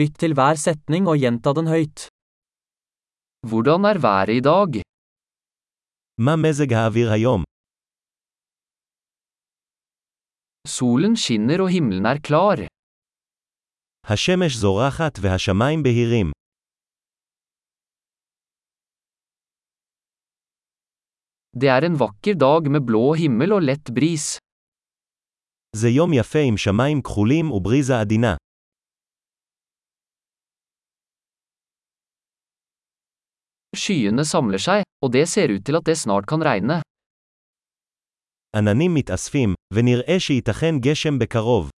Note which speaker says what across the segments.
Speaker 1: Lytt til hver setning og gjenta den høyt.
Speaker 2: Hvordan er været i dag?
Speaker 3: מה מזג האוויר היום?
Speaker 2: Solen skinner og himmelen er klar.
Speaker 3: השמש זורחת והשמיים בהירים.
Speaker 2: Det er en vakker dag med blå himmel og lett bris.
Speaker 3: זה יום יפה עם שמיים כחולים ובריזה עדינה.
Speaker 2: Skyene samler seg, og det ser ut til at det snart kan regne.
Speaker 3: עננים מתאספים, ונראה שייתכן גשם בקרוב.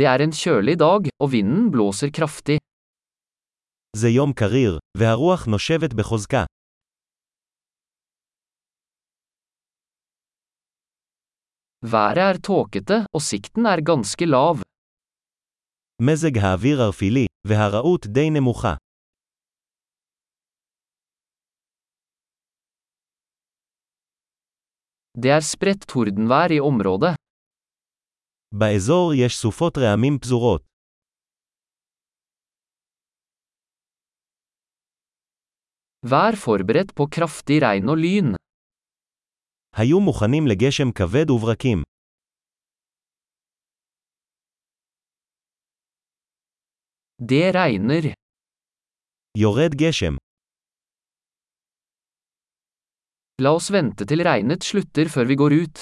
Speaker 2: Det er en kjølig dag, og vinden blåser kraftig.
Speaker 3: זה יום קריר, והרוח נושבת בחוזקה.
Speaker 2: Været er tåkete, og sikten er ganske lav.
Speaker 3: מזג האוויר ערפילי, והרעות די נמוכה.
Speaker 2: Det er spredt tordenvær i området.
Speaker 3: באזור יש סופות רעמים פזורות.
Speaker 2: Vær forberedt på kraftig regn og lyn.
Speaker 3: היו מוכנים לגשם כבד וברקים.
Speaker 2: Det regner.
Speaker 3: יורד גשם.
Speaker 2: La oss vente til regnet slutter før vi går ut.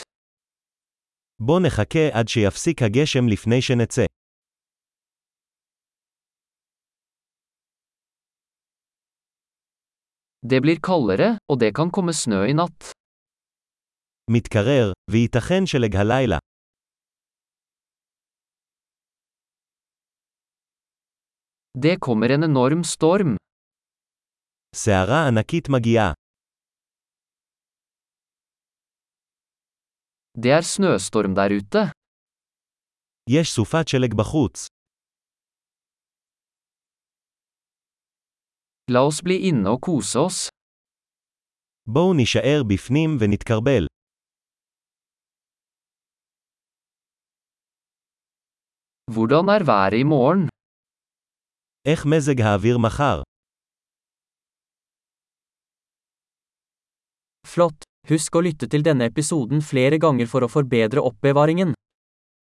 Speaker 3: בוא נחכה עד שיפסיק הגשם לפני שנצא.
Speaker 2: Det blir kaldere, og det kan komme snø i natt.
Speaker 3: מתקרר, וייתכן שלג הלילה.
Speaker 2: Det kommer en enorm storm.
Speaker 3: סערה ענקית מגיעה.
Speaker 2: Det er snøstorm der ute.
Speaker 3: יש סופת שלג בחוץ.
Speaker 2: La oss bli inne og kose oss.
Speaker 3: בואו נישאר בפנים ונתקרבל.
Speaker 2: Hvordan er været i morgen?
Speaker 3: איך מזג האוויר מחר?
Speaker 1: Flott! Husk å lytte til denne episoden flere ganger for å forbedre oppbevaringen.